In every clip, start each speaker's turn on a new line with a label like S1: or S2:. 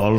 S1: El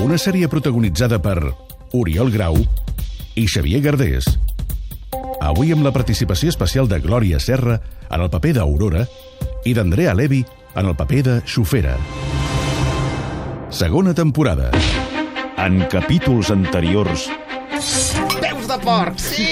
S2: Una sèrie protagonitzada per Oriol Grau i Xavier Gardés. Avui amb la participació especial de Glòria Serra en el paper d'Aurora i d'Andrea Levy en el paper de Xofera. Segona temporada.
S1: En capítols anteriors...
S3: Peus de porc, sí!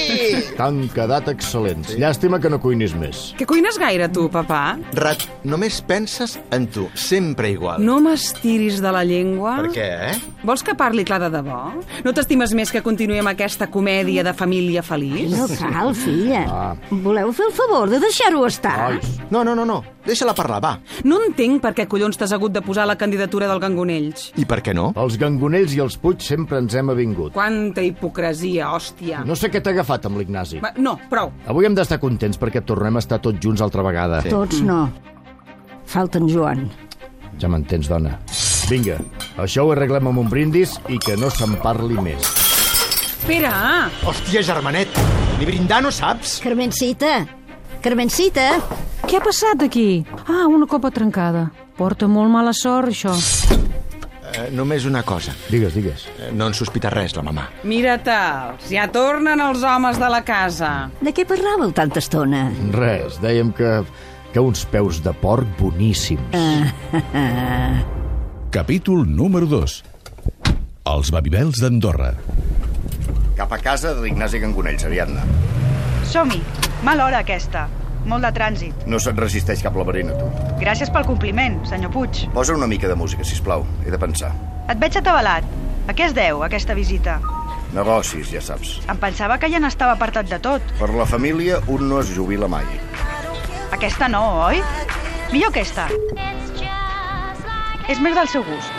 S4: T'han quedat excel·lents. Llàstima que no cuinis més.
S5: Que cuines gaire, tu, papà?
S3: Rat, només penses en tu, sempre igual.
S5: No m'estiris de la llengua.
S3: Per què, eh?
S5: Vols que parli clar de debò? No t'estimes més que continuem aquesta comèdia de família feliç?
S6: No cal, filla. Voleu fer el favor de deixar-ho estar?
S4: Nois,
S3: No, no, no, no. Deixa-la parlar, va.
S5: No entenc per què collons t'has hagut de posar la candidatura del Gangonells.
S3: I per què no?
S4: els gangonells i els Puig sempre ens hem avingut.
S5: Quanta hipocresia, hòstia.
S4: No sé què t'ha agafat amb l'Ignasi.
S5: Va, no prou.
S4: Avui hem d'estar contents perquè tornem a estar tots junts altra vegada.
S3: Sí.
S6: Tots no. Falta en Joan.
S4: Ja m'entens, dona. Vinga, això ho arreglem amb un brindis i que no se'n parli més.
S5: Espera! ah,
S3: Hòstia, germanet! Ni brindar no saps?
S6: Carmencita! Carmencita!
S7: Què ha passat aquí? Ah, una copa trencada. Porta molt mala sort, això.
S3: Eh, només una cosa.
S4: Digues, digues.
S3: Eh, no en sospita res, la mamà.
S5: Mira tals, ja tornen els homes de la casa.
S6: De què parlàveu tanta estona?
S4: Res, dèiem que... que uns peus de porc boníssims.
S2: Capítol número 2. Els babibels d'Andorra.
S8: Cap a casa de l'Ignasi Gangonells, Ariadna.
S9: Som-hi. Mal hora, aquesta. Molt de trànsit.
S8: No se't resisteix cap laberint a tu.
S9: Gràcies pel compliment, senyor Puig.
S8: Posa una mica de música, si plau. He de pensar.
S9: Et veig atabalat. A què es deu, aquesta visita?
S8: Negocis, ja saps.
S9: Em pensava que ja n'estava apartat de tot.
S8: Per la família, un no es jubila mai.
S9: Aquesta no, oi? Millor aquesta. És més del seu gust.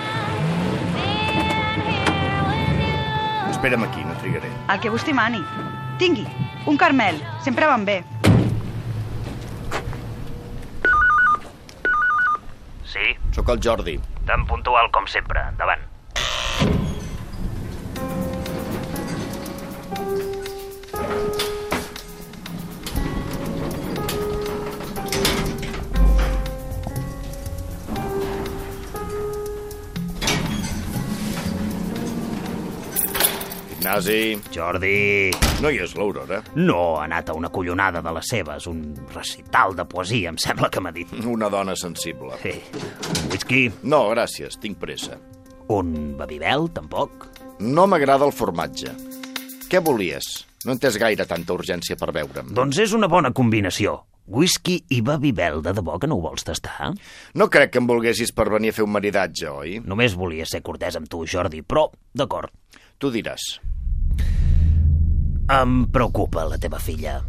S8: Espera'm aquí, no trigaré.
S9: El que vostè mani. Tingui, un carmel. Sempre van bé.
S10: Sí,
S8: Sóc el Jordi.
S10: tan puntual com sempre. Endavant.
S8: Ignasi,
S10: Jordi...
S8: no hi és l'Aurora.
S10: No ha anat a una collonada de les seves, un recital de poesia, em sembla que m'ha dit.
S8: Una dona sensible.
S10: Sí. Un whisky,
S8: No, gràcies, tinc pressa.
S10: un babibel, tampoc.
S8: No m'agrada el formatge. Què volies? No en tens gaire tanta urgència per veure'm.
S10: Doncs és una bona combinació. Whisky i babibel, de debò que no ho vols tastar?
S8: No crec que em volguessis per venir a fer un maridatge, oi?
S10: Només volia ser cortès amb tu, Jordi, però, d'acord.
S8: Tu diràs.
S10: Em preocupa la teva filla.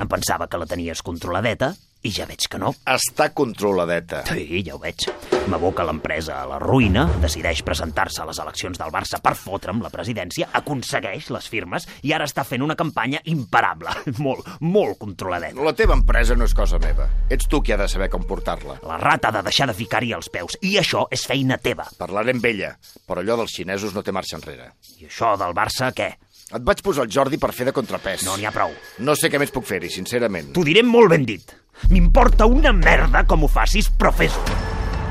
S10: Em pensava que la tenies controladeta i ja veig que no.
S8: Està controladeta.
S10: Sí, ja ho veig. M'aboca l'empresa a la ruïna, decideix presentar-se a les eleccions del Barça per fotre'm la presidència, aconsegueix les firmes i ara està fent una campanya imparable, molt, molt controladeta.
S8: La teva empresa no és cosa meva. Ets tu qui ha de saber com portar-la.
S10: La rata ha de deixar de ficar-hi els peus, i això és feina teva.
S8: Parlaré amb ella, però allò dels xinesos no té marxa enrere.
S10: I això del Barça, què?
S8: Et vaig posar el Jordi per fer de contrapès.
S10: No n'hi ha prou.
S8: No sé què més puc fer-hi, sincerament.
S10: T'ho diré molt ben dit. M'importa una merda com ho facis, però fes-ho.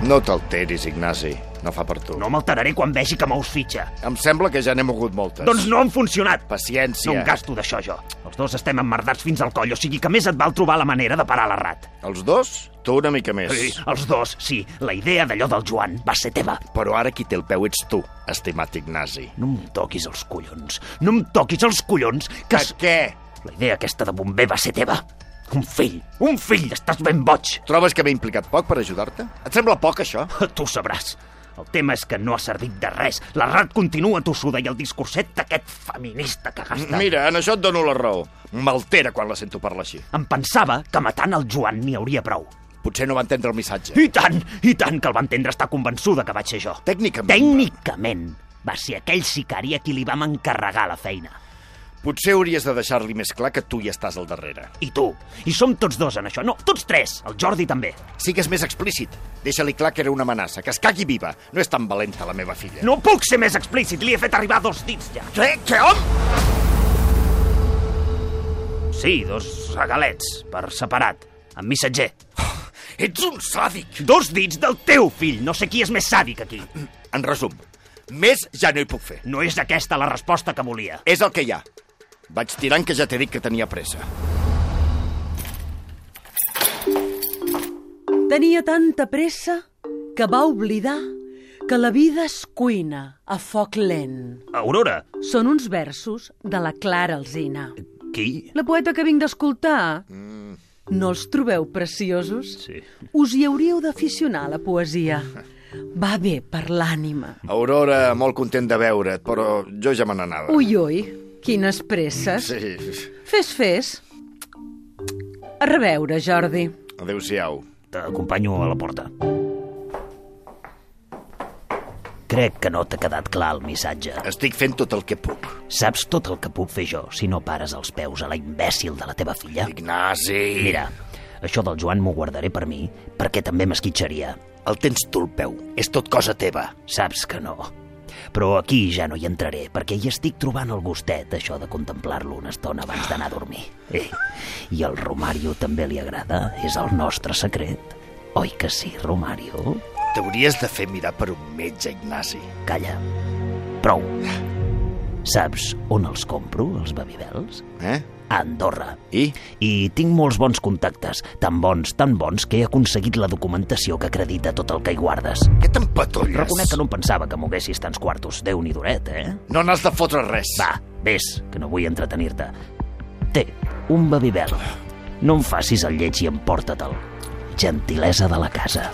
S8: No t'alteris, Ignasi. No fa per tu.
S10: No m'alteraré quan vegi que mous fitxa.
S8: Em sembla que ja n'he mogut moltes.
S10: Doncs no han funcionat.
S8: Paciència.
S10: No em gasto d'això, jo. Els dos estem emmerdats fins al coll, o sigui que més et val trobar la manera de parar la rat.
S8: Els dos? Tu una mica més.
S10: Sí, els dos, sí. La idea d'allò del Joan va ser teva.
S8: Però ara qui té el peu ets tu, estimat Ignasi.
S10: No em toquis els collons. No em toquis els collons, que...
S8: Per
S10: es-
S8: què?
S10: La idea aquesta de bomber va ser teva. Un fill, un fill, estàs ben boig.
S8: Trobes que m'he implicat poc per ajudar-te? Et sembla poc, això?
S10: Tu ho sabràs. El tema és que no ha servit de res. La rat continua tossuda i el discurset d'aquest feminista que gasta...
S8: Mira, en això et dono la raó. M'altera quan la sento parlar així.
S10: Em pensava que matant el Joan n'hi hauria prou.
S8: Potser no va entendre el missatge.
S10: I tant, i tant que el va entendre estar convençuda que vaig ser jo.
S8: Tècnicament.
S10: Tècnicament va ser aquell sicari a qui li vam encarregar la feina.
S8: Potser hauries de deixar-li més clar que tu hi estàs al darrere.
S10: I tu. I som tots dos en això. No, tots tres. El Jordi també.
S8: Sigues més explícit. Deixa-li clar que era una amenaça, que es cagui viva. No és tan valenta la meva filla.
S10: No puc ser més explícit. Li he fet arribar dos dits ja.
S8: Què? Què, hom?
S10: Sí, dos regalets, per separat, amb missatger.
S8: Oh, Ets un sàdic!
S10: Dos dits del teu fill. No sé qui és més sàdic aquí.
S8: En resum, més ja no hi puc fer.
S10: No és aquesta la resposta que volia.
S8: És el que hi ha. Vaig tirant que ja t'he dit que tenia pressa.
S11: Tenia tanta pressa que va oblidar que la vida es cuina a foc lent.
S10: Aurora,
S11: Són uns versos de la Clara Alzina.
S10: qui?
S11: La poeta que vinc d'escoltar. No els trobeu preciosos?
S10: Sí.
S11: Us hi hauríeu d'aficionar a la poesia. Va bé per l'ànima.
S8: Aurora, molt content de veure't, però jo ja me n'anava.
S11: Ui, ui, quines presses.
S8: Sí.
S11: Fes, fes. A reveure, Jordi.
S8: Adéu-siau.
S10: T'acompanyo a la porta. Crec que no t'ha quedat clar el missatge.
S8: Estic fent tot el que puc.
S10: Saps tot el que puc fer jo si no pares els peus a la imbècil de la teva filla?
S8: Eh. Ignasi!
S10: Mira, això del Joan m'ho guardaré per mi, perquè també m'esquitxaria.
S8: El tens tu al peu. És tot cosa teva.
S10: Saps que no. Però aquí ja no hi entraré, perquè hi estic trobant el gustet, això de contemplar-lo una estona abans d'anar a dormir.
S8: Ah.
S10: Eh, I al Romario també li agrada, és el nostre secret. Oi que sí, Romario?
S8: T'hauries de fer mirar per un metge, Ignasi.
S10: Calla. Prou.
S8: Ah.
S10: Saps on els compro, els bebivels?
S8: Eh?
S10: A Andorra.
S8: I?
S10: I tinc molts bons contactes, tan bons, tan bons, que he aconseguit la documentació que acredita tot el que hi guardes.
S8: Què t'empatolles?
S10: Reconec que no em pensava que moguessis tants quartos. déu nhi duret, eh?
S8: No n'has de fotre res.
S10: Va, vés, que no vull entretenir-te. Té, un bebibel. No em facis el lleig i emporta-te'l. Gentilesa de la casa.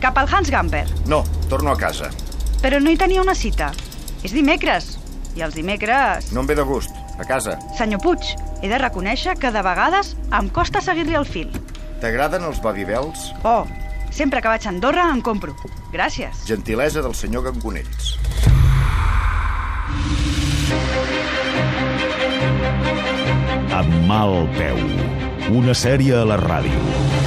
S9: Cap al Hans Gamper.
S8: No, torno a casa.
S9: Però no hi tenia una cita. És dimecres. I els dimecres...
S8: No em ve de gust. A casa.
S9: Senyor Puig, he de reconèixer que de vegades em costa seguir-li el fil.
S8: T'agraden els babivels?
S9: Oh, sempre que vaig a Andorra em compro. Gràcies.
S8: Gentilesa del senyor Gangonells.
S1: Amb mal peu. Una sèrie a la ràdio.